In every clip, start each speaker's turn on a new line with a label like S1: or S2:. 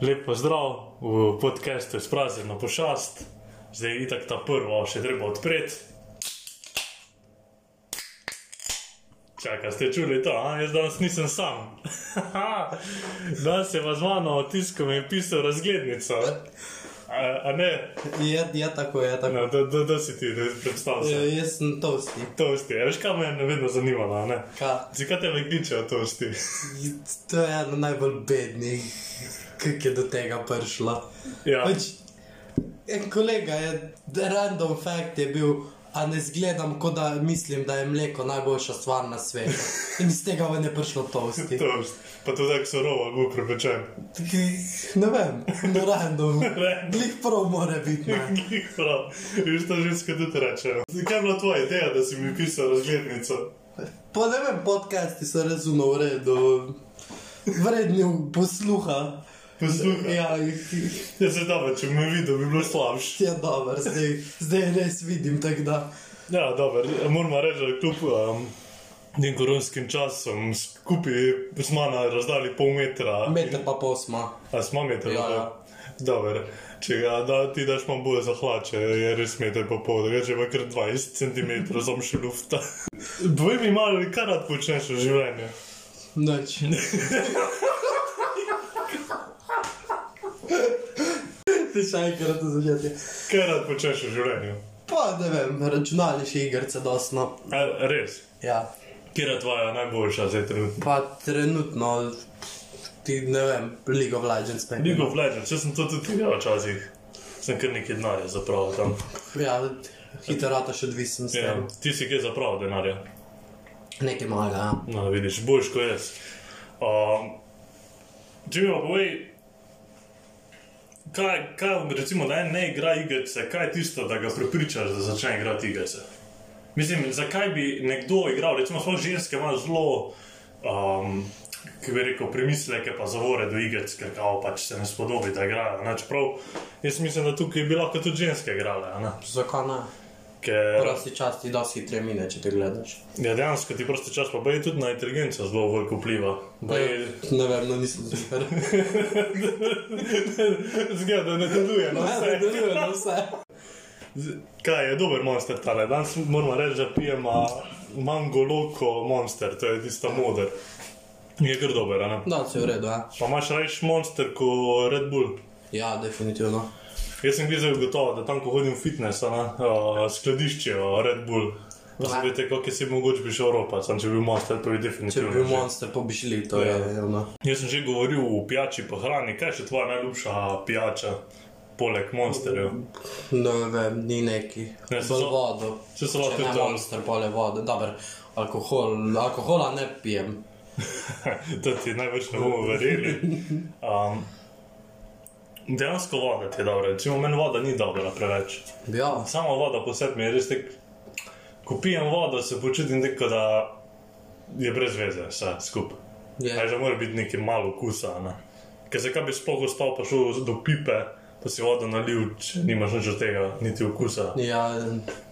S1: Lep pozdrav v podkastu s praznjeno pošast, zdaj je itak ta prva, še treba odpreti. Čakaj, ste čuli to, a? jaz danes nisem sam. danes je vas mano tiskom in pisal razglednica. A, a ne,
S2: Ja, ja tako je, tako
S1: no, da, da, da si ti, da predstavljaš.
S2: je. Jaz sem tosti.
S1: Tosti, a veš, kaj me je vedno zanimalo, a ne?
S2: Ka,
S1: Zakaj te vekličejo tosti?
S2: to je eno najbolj bednih, ki je do tega prišlo.
S1: ja,
S2: Pač, en kolega je, random fact je bil, a ne zgledam, kot da mislim, da je mleko najboljša stvar na svetu. In iz tega ven je prišlo tosti.
S1: tost. Pa to tako surovo, gub prepečen.
S2: Ki- Ne vem, no random. Glih prav mora biti. ne.
S1: Prav, viš to ženske tudi rečejo. Kaj je bila tvoja ideja, da si mi pisal razglednico?
S2: Pa ne vem, podcasti so razumno v redu, vredni posluha.
S1: Poslušaj,
S2: Ja, jih, jih.
S1: ja se dobro, če bi me videl, bi bilo slabše.
S2: Ja, dober, zdaj, zdaj res vidim, tako da.
S1: Ja, dobro, moramo reči, da kljub um, tem koronskim časom skupaj smo na razdalji pol metra.
S2: Meter pa posma.
S1: A smo meter?
S2: Ja,
S1: ali?
S2: ja.
S1: Dobro, če ga da, ti daš malo bolj za hlače, je res meter pa pol, drugače je pa kar 20 cm, zom še lufta. Dvoj mi malo, kar rad počneš v življenju.
S2: Noč. Ti še enkrat to začeti.
S1: Kaj rad počneš v življenju?
S2: Pa ne vem, računalniške igrice dosno.
S1: A, res.
S2: Ja.
S1: Kjer je tvoja najboljša zdaj trenutno?
S2: Pa trenutno, ti ne vem, League of Legends pa
S1: League of Legends, če sem to tudi igral včasih, sem kar nekaj denarja zapravil tam.
S2: Ja, hitro rataš odvisen s
S1: Ja,
S2: tem.
S1: ti si kje zapravil denarja?
S2: Nekaj malega, ja.
S1: No, vidiš, boljš kot jaz. Um, če mi pa povej, kaj, kaj recimo, da en ne igra igrice, kaj je tisto, da ga prepričaš, da začne igrati igrice? Mislim, zakaj bi nekdo igral, recimo, sploh ženske imajo zelo, um, ki bi rekel, premisleke pa zavore do igric, ker kao pač se ne spodobi, da igrajo. Ne? Čeprav jaz mislim, da tukaj bi lahko tudi ženske igrale, a ne?
S2: Zakaj ne?
S1: ker
S2: Prosti čas ti dosti hitro mine, če te gledaš.
S1: ja, dejansko ti prosti čas pa bej tudi na inteligenco zelo veliko vpliva. Baje-
S2: Ne vem, no nisem zvihar.
S1: Zgleda, da ne deluje. No,
S2: Ne, ne
S1: vse.
S2: delujem na vse.
S1: Z- Kaj je dober monster tale? Danes moramo reči, da pijem a, mango loco monster, to je tista moder. Je kar dober, a ne?
S2: No, vse je v redu, ja.
S1: Pa imaš rajš monster kot Red Bull.
S2: Ja, definitivno.
S1: Jaz sem bil zelo gotov, da tam, ko hodim v fitness, a ne, a, skladišče a, Red Bull. Pa sem videl, kako si mogoče bi šel Evropa, sem če bi bil monster, to bi
S2: Če
S1: definitivno.
S2: bi bil
S1: že.
S2: monster, pa bi šli, to
S1: Ja.
S2: je eno.
S1: Jaz sem že govoril o pijači po hrani, kaj je še tvoja najljubša pijača, poleg monsterjev?
S2: No, vem, ni neki.
S1: Ne,
S2: Bolj
S1: se so-
S2: vodo.
S1: se so lahko
S2: Če ne
S1: tudi-
S2: monster, pole vode. Dober, alkohol, alkohola ne pijem.
S1: to ti največ ne bomo verjeli. Um, dejansko voda ti je dobra, recimo meni voda ni dobra preveč.
S2: Ja,
S1: Sama voda po sebi mi je res tek. Ko pijem vodo, se počutim tako, da je brez veze vse skupaj. Aj,
S2: je.
S1: da mora biti nekaj malo okusa. Ne? Ker zakaj bi sploh ostal pa šel do pipe, pa si vodo nalil, če nimaš nič od tega, niti okusa.
S2: Ja,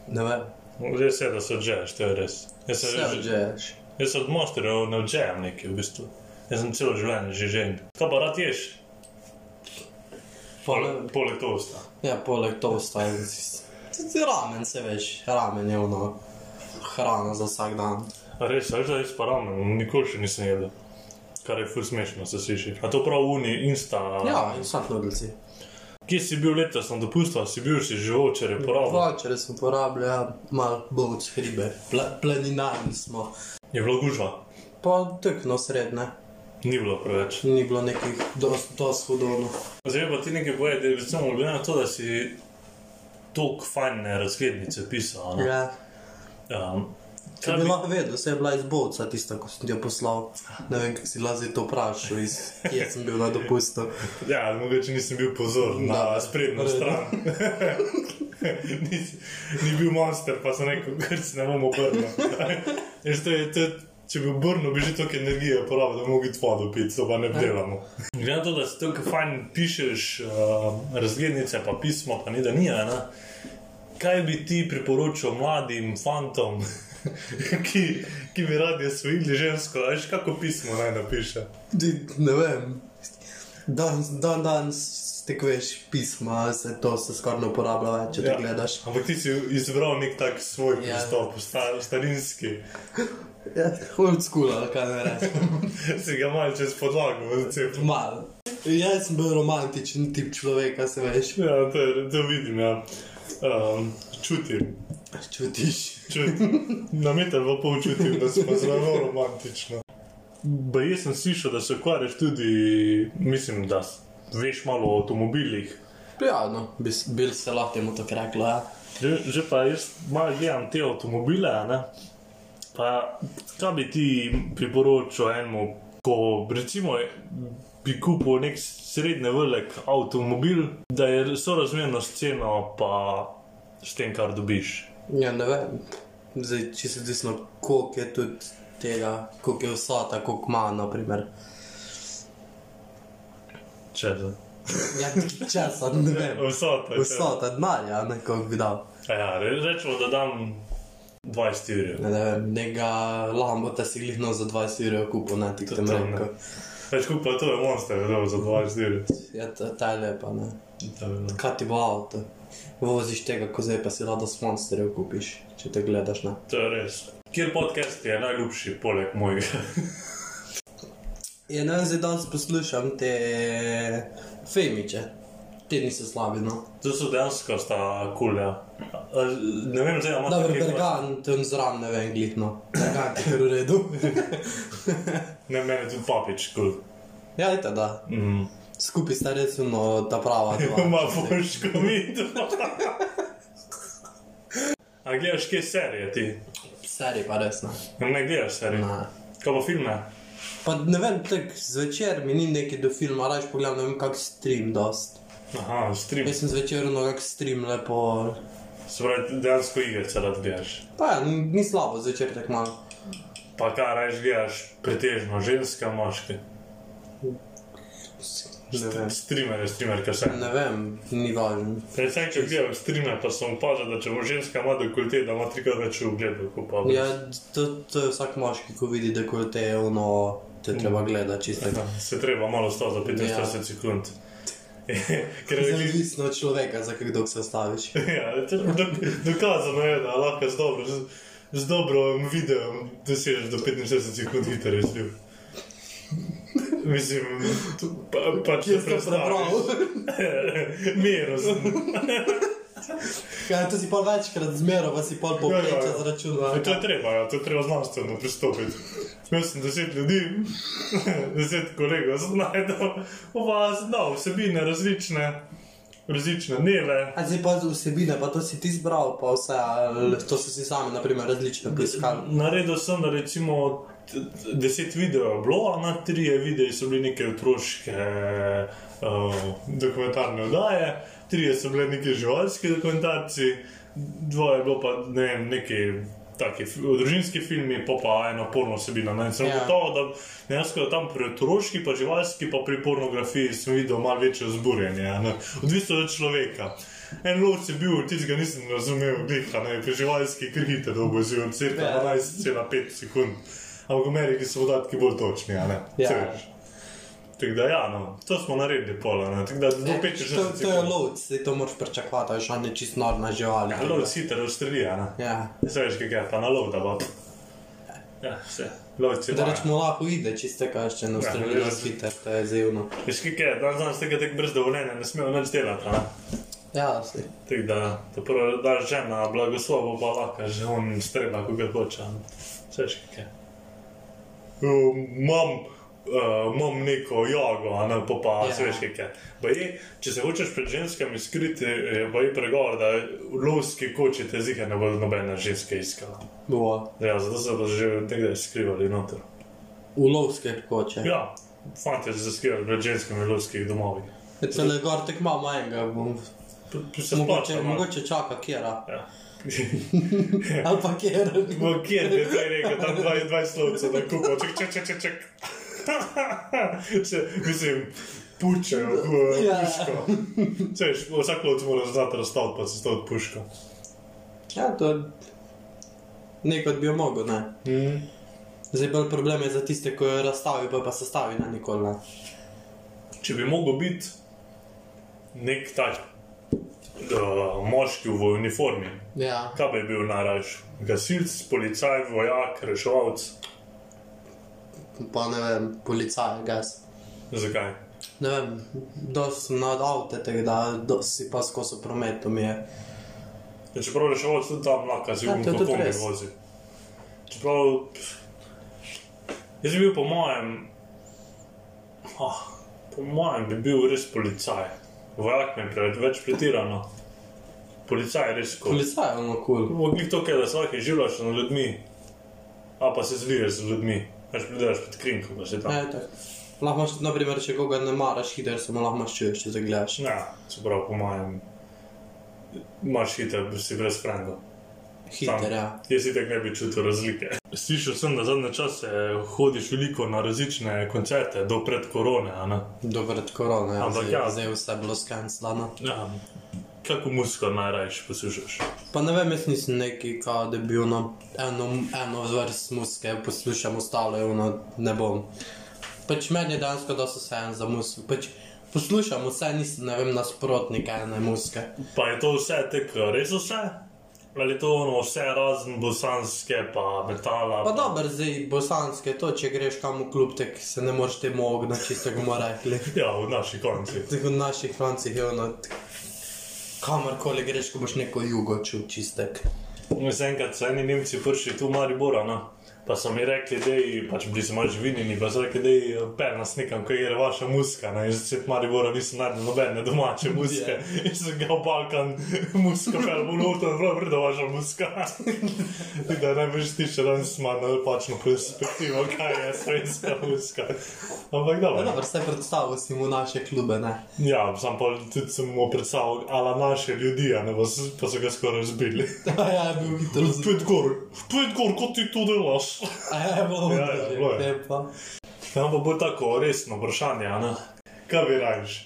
S2: ne vem.
S1: Res je, da se odžeješ, to je res. Jaz se,
S2: Vse
S1: že,
S2: odžeješ.
S1: jaz se od monsterjev ne odžejem nekaj v bistvu. Jaz sem celo življenje že žen. Kaj pa rad ješ?
S2: Pa ne-
S1: Poleg tosta.
S2: Ja, poleg tosta je z- z- z- ramen, se veš. Ramen je ono. Hrana za vsak dan.
S1: A Res, a veš, da jaz pa ramen, nikoli še nisem jedel. Kar je ful smešno, se sliši. A to prav uni, insta.
S2: Ja, in sad nudilci.
S1: Kje si bil letos na dopustu, a si bil si živel, če je porabil?
S2: Včeraj sem uporabljal malo bolj hribe. Pla, planinarni smo.
S1: Je bilo gužva.
S2: Pa tekno srednje.
S1: Ni bilo preveč.
S2: Ni bilo nekih dost, dost hudovno.
S1: Zdaj pa ti nekaj boje, da je recimo glede na to, da si tok fajne razglednice pisal. a ne?
S2: Ja.
S1: Um,
S2: Če
S1: kaj
S2: bi
S1: bi-
S2: lahko vedel, se je bila iz Bovca tista, ko sem ti jo poslal. Ne vem, kako si lazi to vprašal, iz kje sem bil na dopustu.
S1: Ja, mogoče nisem bil pozoren na
S2: Da.
S1: sprednjo
S2: Redu.
S1: stran. ni, ni bil monster, pa sem rekel, da se ne bom obrnil. Veš, to je- to je- Če bi obrnil, bi že toliko energije porabil, da bi mogel iti vodo piti, to pa ne delamo. Glede na to, da si tako fajn pišeš uh, razglednice, pa pismo, pa ni da ni, a ne? kaj bi ti priporočil mladim fantom, ki, ki bi radi osvojili žensko, a veš, kako pismo naj napiše?
S2: Ti, Ne vem. Dan, dan danes tekveš pisma, se to se skoraj ne uporablja več, če ja. to gledaš.
S1: Ampak ti si izbral nek tak svoj
S2: Ja.
S1: pristop, sta, starinski.
S2: Ja, Old school, ali kaj ne rečem.
S1: Si ga malo čez podlago, cepil.
S2: Malo. Jaz sem bil romantičen tip človeka, se veš.
S1: Ja, to, je- to vidim, ja. Um, čutim,
S2: Čutiš.
S1: čutim. Na meter pa pol čutim, da smo zelo romantično. Ba, jaz sem slišal, da se ukvarjaš tudi, mislim, da s- veš malo o avtomobilih.
S2: Ja, no, bi, bil se lahko temu tako reklo. Ja.
S1: Že, že pa jaz malo gledam te avtomobile, a ne? pa kaj bi ti priporočil enemu, ko recimo bi kupil nek srednje velik avtomobil, da je sorazmerno s ceno pa s tem, kar dobiš.
S2: ja, ne vem. Zdaj, če se odvisno, koliko je tudi tega, koliko je vsota, koliko ima, naprimer.
S1: Če se.
S2: Ja, časa, ne vem.
S1: Vsota.
S2: Vsota, denarja, nekako bi dal.
S1: Ja, re- rečemo, da dam 20 ur.
S2: Ne, ne vem, nekega lambota si glihno za 20 ur kupo, ne, ti tam
S1: to ne.
S2: reko.
S1: Več kot pa to je monster, da bo za 20 ur.
S2: Ja, ta- ta je lepa, ne. Kaj ti bo avto? Voziš tega, ko zdaj pa si rado s monsterjev kupiš, če te gledaš, ne.
S1: To je res. Kjer podcast je najljubši, poleg mojega?
S2: Ja, ne vem, zdaj danes poslušam te femiče. Ti niso slabi, no.
S1: To so dejansko sta kulja. Ne vem, zdaj imamo
S2: Dobro, Bergan, to je zraven, ne vem, glihno. Bergan, ki je v redu.
S1: Ne, meni je tudi papič kul.
S2: ja, je da.
S1: Mm.
S2: Skupaj sta res uno, ta prava. dva.
S1: Ma boš komit. A gledaš kje serije ti?
S2: Seri pa res no. ne.
S1: Ne gledaš serije.
S2: ne.
S1: Kaj pa filme?
S2: Pa ne vem, tako zvečer mi ni neki do filma, raje pogledam, ne vem, kak stream dost.
S1: Aha, stream.
S2: Jaz sem zvečer no kak stream lepo.
S1: Se pravi, dejansko igre se rad gledaš.
S2: Pa ja, ni, ni slabo zvečer tako malo.
S1: Pa kaj raje gledaš, pretežno ženske, moške.
S2: Ne vem.
S1: Streamer, streamer, kaj se.
S2: Ne vem, ni važno.
S1: Predvsem, če gledam streame, pa sem opazil, da če mu ženska ima dekolte, da ima trikrat več ogledov kot pa.
S2: Ja, to, to je vsak moški, ko vidi, da ko te je ono, te treba gledati čisto. tako.
S1: Ja, Se treba malo stati za 15
S2: Ja.
S1: ja. sekund. Ker je
S2: Zdaj je odvisno od človeka, za kak dolg se ostaviš.
S1: ja, to- do- dokazano, je, da lahko z, dobro, z, z dobrim videom dosežeš do 65 sekund hitreje zliv. Mislim, tu pa, pač pa
S2: Kje sem prebral?
S1: Miro,
S2: Ja, to si pa večkrat zmeral, pa si pol
S1: Ja, ja,
S2: povprečja
S1: ja.
S2: zračunal.
S1: to je treba, ja, to je treba znanstveno pristopiti. Imel sem deset ljudi, deset kolegov, znajdel, oba znal vsebine različne, različne dneve.
S2: A zdaj pa vsebine, pa to si ti zbral, pa vse, ali to so si sami, naprimer, različno poiskali.
S1: Naredil sem, da recimo t- t- deset videov je bilo, a na tri videe so bili neke otroške uh, dokumentarne oddaje, tri so bile neke živalske dokumentarce, dva je bilo pa ne vem, neki. Taki fi- družinski filmi, pa pa ena porno vsebina. Ne, In sem
S2: Ja.
S1: yeah. gotovo, da dejansko je tam pri otroški, pa živalski, pa pri pornografiji sem videl malo večje vzburjenje. a ne. Odvisno od človeka. En lovec je bil, tistega nisem razumel, diha, ne, pri živalski krhite dolgo živel, cirka
S2: Ja.
S1: 12,5 sekund. Ampak v Ameriki so podatki bolj točni, a ne?
S2: Ja.
S1: Saj veš. Tako da, ja, no, to smo naredili pola, ne, tako da do 5-6
S2: Ja, to,
S1: sekund.
S2: to je lovec, zdaj to moraš pričakovati, a je šel ne čist norna žival.
S1: Ja, lovec hitro ustreli, a ne?
S2: Ja.
S1: Saj veš, kaj je, pa na lov, da bo. Ja, vse. Lovec je
S2: Da
S1: vajen.
S2: rečemo, lahko ide, čiste kaj še ne
S1: ne,
S2: ustrelijo
S1: res.
S2: z hiter, to je zivno.
S1: Veš, kaj je, dan danes tega tako brez dovoljenja ne smejo nič delati, a ne?
S2: Ja, si.
S1: Tako da, to prvo daš žena, blagoslovo pa lahko že on strela, ko ga hoče. Seš kaj. Um, Imam uh, imam neko jogo, a ne pa pa
S2: Ja.
S1: yeah. veš kaj. je. Baje, če se hočeš pred ženskami skriti, je baje pregovor, da lovski koči te zika ne bodo nobena ženska iskala.
S2: Bo.
S1: Ja, zato so pa že nekdaj skrivali noter.
S2: V lovske koče.
S1: Ja, fanti so se skrivali pred ženskami v lovskih domovih.
S2: Ja. Cele gor tek malo manjega, bom.
S1: Pa- pa Se
S2: Mogoče,
S1: splača, no.
S2: mogoče čaka kjera.
S1: Ja.
S2: Ali pa kjer.
S1: Bo kjer bi zdaj rekel, tam 22 slovcev, da kupo, ček, ček, ček, ček, ček. Če, mislim, pučejo, eh,
S2: Ja.
S1: puško. Češ, vsak lovec mora znati razstaviti, pa se staviti puško.
S2: Ja, to nekod bi jo mogel, ne.
S1: Mm.
S2: Zdaj bolj problem je za tiste, ko jo razstavi, pa pa sestavi na nikoli ne.
S1: Če bi mogel biti nek tak uh, moški v uniformi,
S2: Ja.
S1: kaj bi bil najrajš? Gasilc, policaj, vojak, reševalc.
S2: Pa ne vem, policaj, gas.
S1: Zakaj?
S2: Ne vem, dosti sem nad avte, tako da dosti si pa skozi promet, to mi je.
S1: Ja, čeprav reševalec tudi tam lahko
S2: Ja,
S1: zelo
S2: to je
S1: kako
S2: tudi
S1: kombi
S2: res.
S1: vozi. Čeprav, pff, jaz bi bil po mojem, ah, po mojem bi bil res policaj. Vojak mi je preveč pretirano. Policaj je res kot.
S2: Policaj je ono kul. Cool.
S1: Mogli to, kaj, da se lahko življaš nad ljudmi, a pa se zviješ z ljudmi. Až pridelaš pod krinko, da se tam.
S2: Ja, tako. Lahko imaš, naprimer, če koga ne maraš, hiter se mu lahko maščuješ, če zagledaš.
S1: Ja, čeprav po mojem, imaš hiter, si brez franga.
S2: Hiter,
S1: Sam.
S2: ja.
S1: Jaz si tako ne bi čutil razlike. Slišal sem, da zadnje čase hodiš veliko na različne koncerte, do pred korone. a ne?
S2: Dobro, od korone, ja.
S1: Ampak
S2: zdaj,
S1: ja.
S2: zdaj je vse bilo skanslano.
S1: Ja. Kako muziko najrajš poslušaš?
S2: Pa ne vem, jaz nisem neki, kao, da bi ono, eno, eno vrst muske poslušal, ostalo je ono, ne bom. Pač meni je dansko, da so se en za musko. Pač poslušam vse, nisem, ne vem, nasprotnik ene muske.
S1: Pa je to vse tako, res vse? Ali je to ono vse razen bosanske, pa metala?
S2: Pa dobro, zdaj bosanske, to če greš kam v klub, tek se ne moreš temu ognati, čisto bomo rekli.
S1: Ja, v naših koncih.
S2: Tako v naših francih je ono, tak- kamorkoli greš, ko boš neko jugo čutil čistek.
S1: Jaz enkrat so eni Nemci prišli tu v Maribor, no? pa so mi rekli, da je, pač bili smo že vinjeni, pa so rekli, da je pel nas nekam, ko je vaša muska. Ne? Jaz se v Mariboru nisem najdel nobene domače muske, jaz sem ga v Balkan muska, pel v Luton, prav vrdo vaša muska. Tako da najbrž ti še danes ima napačno perspektivo, kaj je slovenska muska. Ampak
S2: Pa
S1: dobro.
S2: dobro, vse predstavo si mu naše klube, ne.
S1: Ja, sam pa tudi sem mu predstavljal, ala naše ljudi, a ne pa so- pa so ga skoraj zbili.
S2: ja, je bil hitro zelo.
S1: Pet gor, pet gor, kot ti to delaš.
S2: Ja, je bilo
S1: Ja, ja, bilo
S2: hudo,
S1: je.
S2: ne pa.
S1: Tam pa bo tako resno vprašanje, a ne? kaj bi rajš.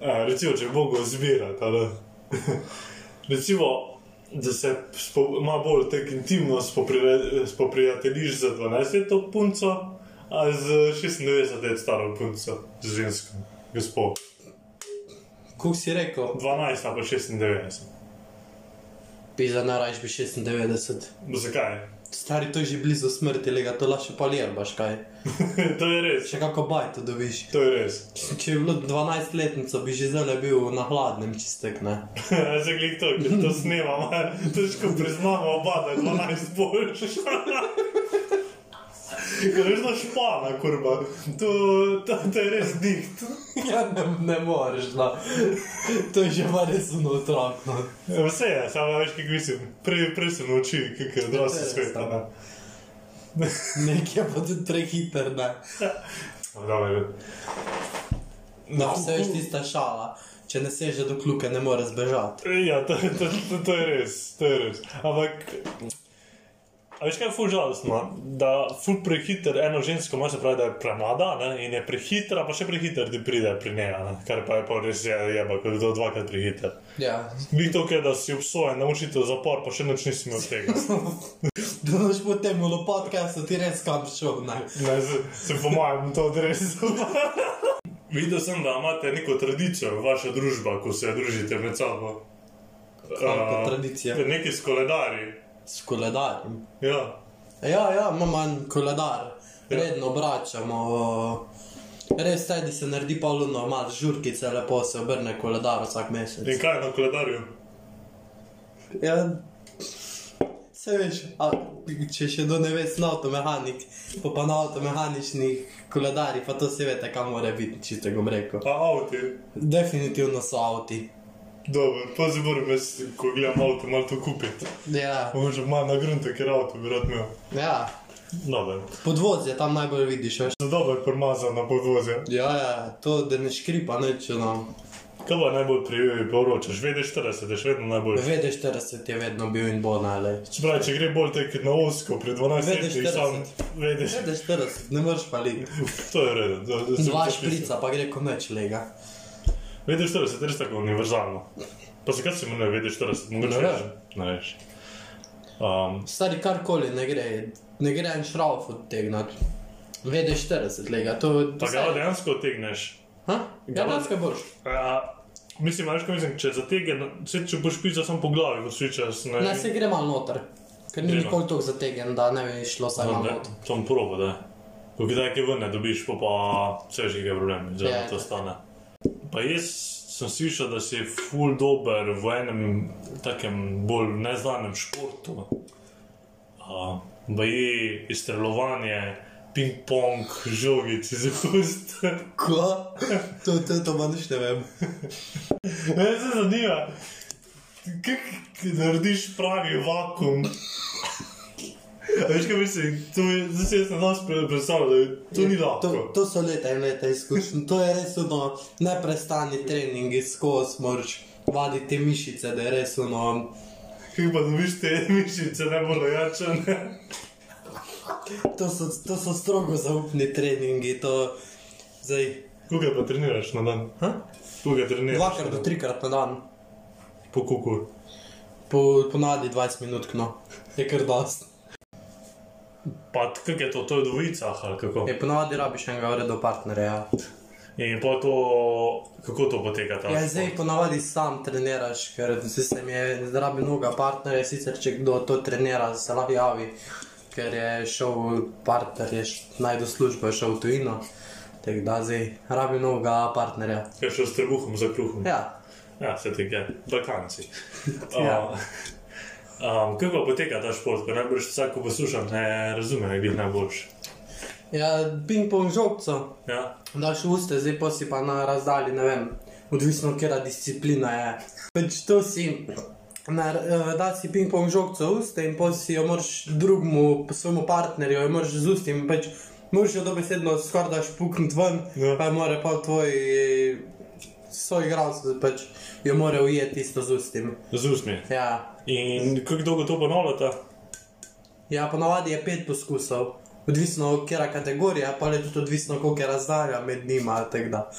S1: E, recimo, če bogo zbirati, ali recimo, da se spo, ima bolj tako intimno spoprijateljiš spoprijateljiš z 12-letno punco, a z 96-let staro punco, z žensko, gospod.
S2: Kuk si rekel,
S1: 12 ali pa 96.
S2: pisa narajš bi 96.
S1: Zakaj?
S2: Stari, to je že blizu smrti, lega, to lahko še palirbaš kaj.
S1: to je res,
S2: Še kako bajto dobiš.
S1: to je res.
S2: Če je bilo 12-letnico, bi že zdaj bil na hladnem čistek, ne?
S1: Že glej to, ker to snemamo, ja. težko priznamo oba, da je 12 boljš. Greš na špana, kurba. To, to, to je res dikt.
S2: Ja, ne, ne moreš, no. To je že pa res ono otrok, no.
S1: Vse je, samo veš, kaj mislim. Prej pre sem naučil, kako je odrasel svet. a ne.
S2: Nek je pa tudi prehiter, ne.
S1: Dobro.
S2: No, vse je tista šala. Če ne seže do kluke, ne more zbežati.
S1: Ja, to, to, to, to je res, to je res. Ampak, a veš kaj je ful žalostno, da ful prehiter eno žensko ima, se pravi, da je premlada ne? in je prehitra, pa še prehiter ti pride pri njej, a ne? kar pa je pa res je, je pa, ker je to dvakrat prehiter.
S2: Ja,
S1: Ni to, kaj, da si obsojen, naučite zapor, pa še nič nisi imel od tega.
S2: da noč potem v lopatkah so ti res kam šel, ne.
S1: Ne, se, se po mojem to odrezal. Videl sem, da imate neko tradicijo, vaša družba, ko se družite med sabo.
S2: Kakšna
S1: A,
S2: tradicija?
S1: Neki s koledarji.
S2: S koledarjem.
S1: Ja.
S2: Ja, ja, imamo en koledar, redno obračamo. eh, Res sedaj se naredi pa luno, malo žurkice, lepo se obrne koledar vsak mesec.
S1: In kaj je na koledarju?
S2: Ja, se veš, a, če še do ne veš, na avtomehanik, pa pa na avtomehaničnih koledarjih, pa to se veste, kam mora biti, če te bom rekel.
S1: Pa avti.
S2: Definitivno so avti.
S1: Dobro, pa se moram jaz, ko gledam avto, malo to kupiti.
S2: Ja,
S1: Mogoče malo na grunte, ker avto bi rad imel.
S2: ja.
S1: Dobro.
S2: podvozje tam najbolj vidiš. Veš.
S1: Za dobro je premazan na podvozje.
S2: Ja, ja, to da ne škripa, neče no.
S1: Kaj pa najbolj prijevi, pa vročeš? Vedeš 40, je še vedno najbolj.
S2: Vedeš, 40 je vedno bil in bo najle.
S1: Čeprav, če gre bolj tek na osko, pri 12
S2: Vedeš
S1: letih sam
S2: 40.
S1: vedeš.
S2: Vedeš, 40, ne moreš pa liti.
S1: To je redo.
S2: Dva šprica, pa gre komeč lega.
S1: Vedeš 40, res tako univerzalno. Pa zakaj se mu ne vedeš 40, mogoče
S2: Ne
S1: ne veš?
S2: vem.
S1: Ne veš. Um,
S2: Stari karkoli ne gre, ne gre en šrauf odtegnati. Vedeš 40 lega, to
S1: pa ga dejansko tegneš.
S2: Ha? Jadanska borš.
S1: A, mislim, veš, kaj mislim, če zategne, če, če boš pičal samo po glavi, vršičas ne.
S2: Ne se gre malo noter, ker ni
S1: Gremo.
S2: nikoli tako zategnjen, da ne bi šlo samo malo
S1: ne,
S2: noter.
S1: tam proba, da. Ko kdaj kaj ven ne dobiš, pa pa vse že je problem, da
S2: Ja,
S1: to
S2: ja.
S1: stane. Pa jaz sem slišal, da si ful dober v enem takem bolj neznanem športu. Uh, Baji, izstrelovanje, ping-pong, žogici za hust.
S2: Ko? To, to, to manjš ne vem.
S1: Mene se zanima, kako narediš pravi vakum. A Veš kaj mislim, to je, zdaj se jaz na nas predstavljam, da je- to ni lahko.
S2: Ja, To, to so leta in leta izkušenj, to je res ono neprestani treningi, skozi moraš vaditi mišice, da je res ono.
S1: Kaj pa dobiš te mišice, ne bo nojačene.
S2: To so, to so strogo zaupni treningi, to zdaj.
S1: Koga pa treniraš na dan?
S2: Ha?
S1: Koga treniraš?
S2: Dvakrat do trikrat na dan,
S1: Po kuku.
S2: po, ponadi 20 minut, no, je kar dost.
S1: Pa t- kako je to, to je dvojica, ali kako?
S2: Je ponadi E, rabiš enega vredno partnerja. ja.
S1: In pa to, kako to poteka ta?
S2: Ja, zdaj ponavadi sam treniraš, ker vse se mi je zdrabi noga partnerja, sicer če kdo to trenira, se lahko javi, ker je šel partner, je najdel službo, je šel v tujino, tako da zdaj rabi noga partnerja.
S1: Kaj še s trebuhom za kruhom?
S2: Ja,
S1: Ja, se ti gre, Balkanci.
S2: Ja.
S1: Um, kako pa poteka ta šport, ko najbrž vsako poslušam, ne razume, kaj je najboljši.
S2: ja ping-pong žogco.
S1: Ja?
S2: Daš v usta, zdaj pa si pa na razdalji, ne vem, odvisno, katera disciplina je. Pač to si, na, eh, da si ping-pong žogico v usta in pa si jo moraš drugemu, svojemu partnerju, jo moraš z ustim, pač moraš jo dobesedno skoraj daš pukniti ven,
S1: Ja.
S2: pa jo mora pa tvoj eh, soigralec, pač jo mora ujeti isto z ustim.
S1: Z usmi.
S2: Ja,
S1: In kako dolgo to ponavljata?
S2: ja ponavadi je pet poskusov. Odvisno, kera kategorija, pa je tudi odvisno, koliko je razdalja med njima, tako da.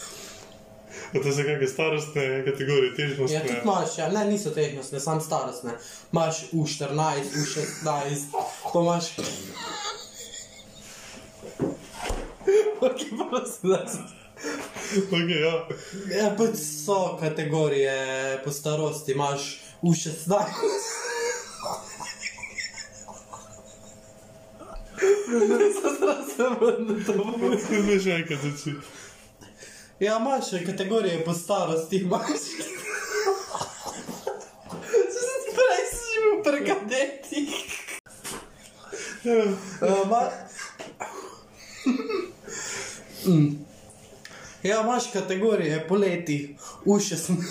S1: A To so kakšne starostne kategorije, težnostne.
S2: Ja, tudi imaš, ja, ne, niso tehnične, samo starostne. Imaš U14, U16, pa imaš. Okay, prosim, da se-
S1: Okay, ja.
S2: ja, pač so kategorije po starosti, imaš U16.
S1: Ne še enkrat zači.
S2: Ja, imaš kategorije po starosti, imaš. Prej si že bil pri kadetih. Uh, ma... Mm. Ja, imaš kategorije poleti, U16.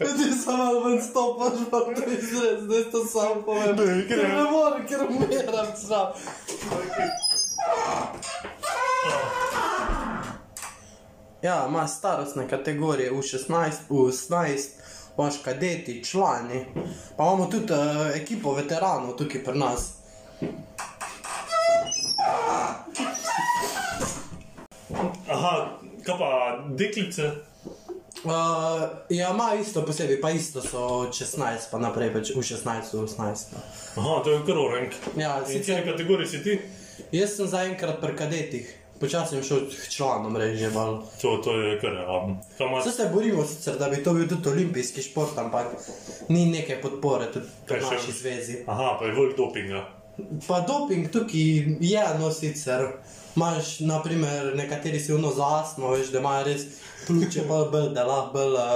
S2: Ja, Ti samo malo ven stopaš, pa to izrez, zdaj to sam povem.
S1: Ne, ker-
S2: Ker ne morem, ker umiram, sam. Ja, imaš starostne kategorije, U16, U18, imaš kadeti, člani. Pa imamo tudi uh, ekipo veteranov tukaj pri nas.
S1: Aha, kaj pa deklice?
S2: Uh, ja, ima isto posebej, pa isto so 16, pa naprej pač U16, U18. no.
S1: Aha, to je kar orenk.
S2: Ja,
S1: In
S2: sicer
S1: cene kategorije si ti?
S2: jaz sem zaenkrat pri kadetih, počasi sem šel k članom, reže bolj.
S1: To, to je kar, um, kaj imaš?
S2: Vse se borimo sicer, da bi to bil tudi olimpijski šport, ampak ni neke podpore tudi pri
S1: Kaj še?
S2: naši zvezi.
S1: Aha, pa je vrh dopinga.
S2: Pa doping tukaj je, no sicer. Imáš, naprimer, nekateri si vno za astmo, veš, da imajo res pljuče, pa bolj, da lahko bolj uh,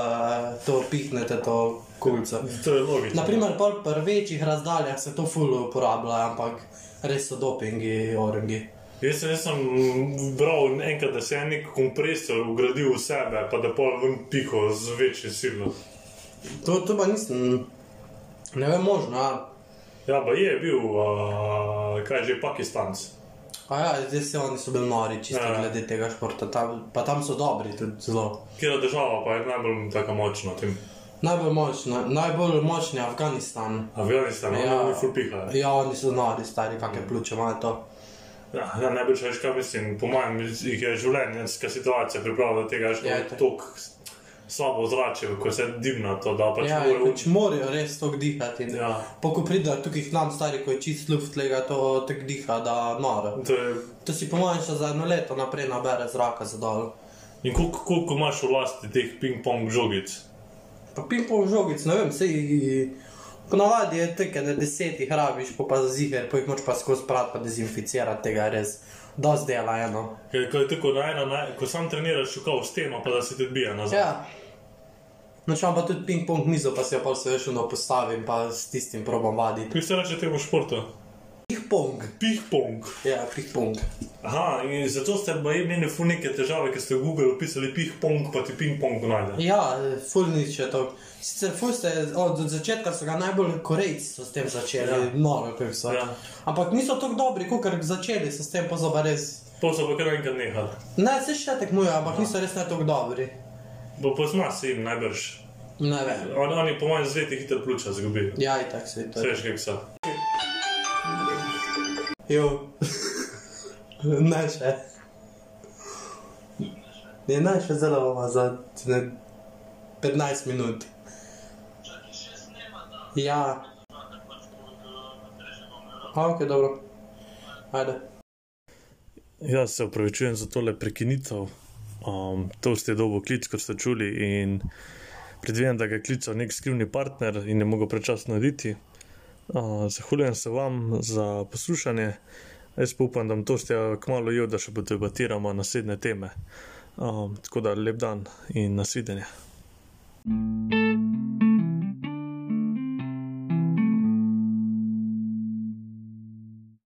S2: to pihnete, to kulco.
S1: To je logično.
S2: Naprimer, pol pri večjih razdaljah se to fully uporablja, ampak res so dopingi, orangi.
S1: Jaz sem, jaz sem bral enkrat, da se je nek kompresor ugradil v sebe, pa da pol ven piko z večjo silo.
S2: To, to pa nisem, ne vem, možno. A,
S1: Ja, pa je bil, uh, kaj že, Pakistanc.
S2: a ja, zdaj se oni so bili nori, čisto
S1: Ja.
S2: ja. glede tega športa, tam, pa tam so dobri tudi zelo.
S1: Kjer država pa je najbolj tako močna v tem
S2: Najbolj močna, najbolj močni je Afganistan.
S1: Afganistanu, ja.
S2: Ja.
S1: oni ful pihajo.
S2: Ja, oni so nori, stari,
S1: Mm.
S2: kakšne pljuče imajo to.
S1: Ja, ja, najbolj veš, kaj mislim. Po mojem, jih je življenjska situacija pripravila do tega, da
S2: Ja,
S1: je
S2: itak.
S1: tako slabo zrače, ko se dimna to da. Pač
S2: Ja,
S1: ja,
S2: in
S1: more,
S2: pač morajo res to dihati. in-
S1: Ja.
S2: Pa ko pride tukaj k nam stari, ko je čist luft, lega to tako diha, da noro.
S1: to je,
S2: To si po mojem še za eno leto naprej nabere zraka za dol.
S1: in koliko, koliko imaš v lasti teh ping-pong žogic?
S2: Pa ping-pong žogic, ne vem, sej. Ponavadi je tako, da deset jih rabiš, pa pa ziger, pa jih moč pa skozi prat, pa dezinficirati tega je res. Dost dela ja, no. eno.
S1: Ker ko je tako na ena, na, ko sam treniraš, šukal s tem, pa da se ti odbija nazaj.
S2: Ja. Načem pa tudi ping-pong mizo, pa se jo pa vse še vedno postavim, pa s tistim probam vaditi.
S1: Kaj se reče temu športu?
S2: Ping-pong.
S1: Ping-pong.
S2: Ja, ping-pong.
S1: Aha, in zato ste baje imeli fu neke težave, ker ste v Google upisali ping-pong, pa ti ping-pong najde.
S2: Ja, ful nič je to. Sicer ful ste, od od začetka so ga najbolj korejci so s tem začeli,
S1: Ja.
S2: ja. nove pa so.
S1: Ja.
S2: Ja. Ampak niso tako dobri, kot začeli so s tem, pa so pa res.
S1: Pa so pa kar enkrat nehali.
S2: Ne, se še tekmujejo, ampak ja. niso res ne tako dobri.
S1: Bo pozna se jim najbrž.
S2: Ne vem.
S1: On, oni po mojem zveti hitro pljuča zgubijo.
S2: Ja, in tako se je to.
S1: Veš, kako so.
S2: Jo. ne še. Ne, ne še zelo bomo za ne, 15 minut. Ja. Ok, dobro. Ajde.
S1: Jaz Ja, se upravičujem za tole prekinitev. Um, to ste dobo klic, kot ste čuli, in predvidevam, da ga je klical nek skrivni partner in je mogel prečasno narediti. Uh, zahvaljujem se vam za poslušanje. Jaz pa upam, da bom to ste kmalo jo, da še podebatiramo naslednje teme. Um, tako da lep dan in nasvidenje.
S3: Thank you.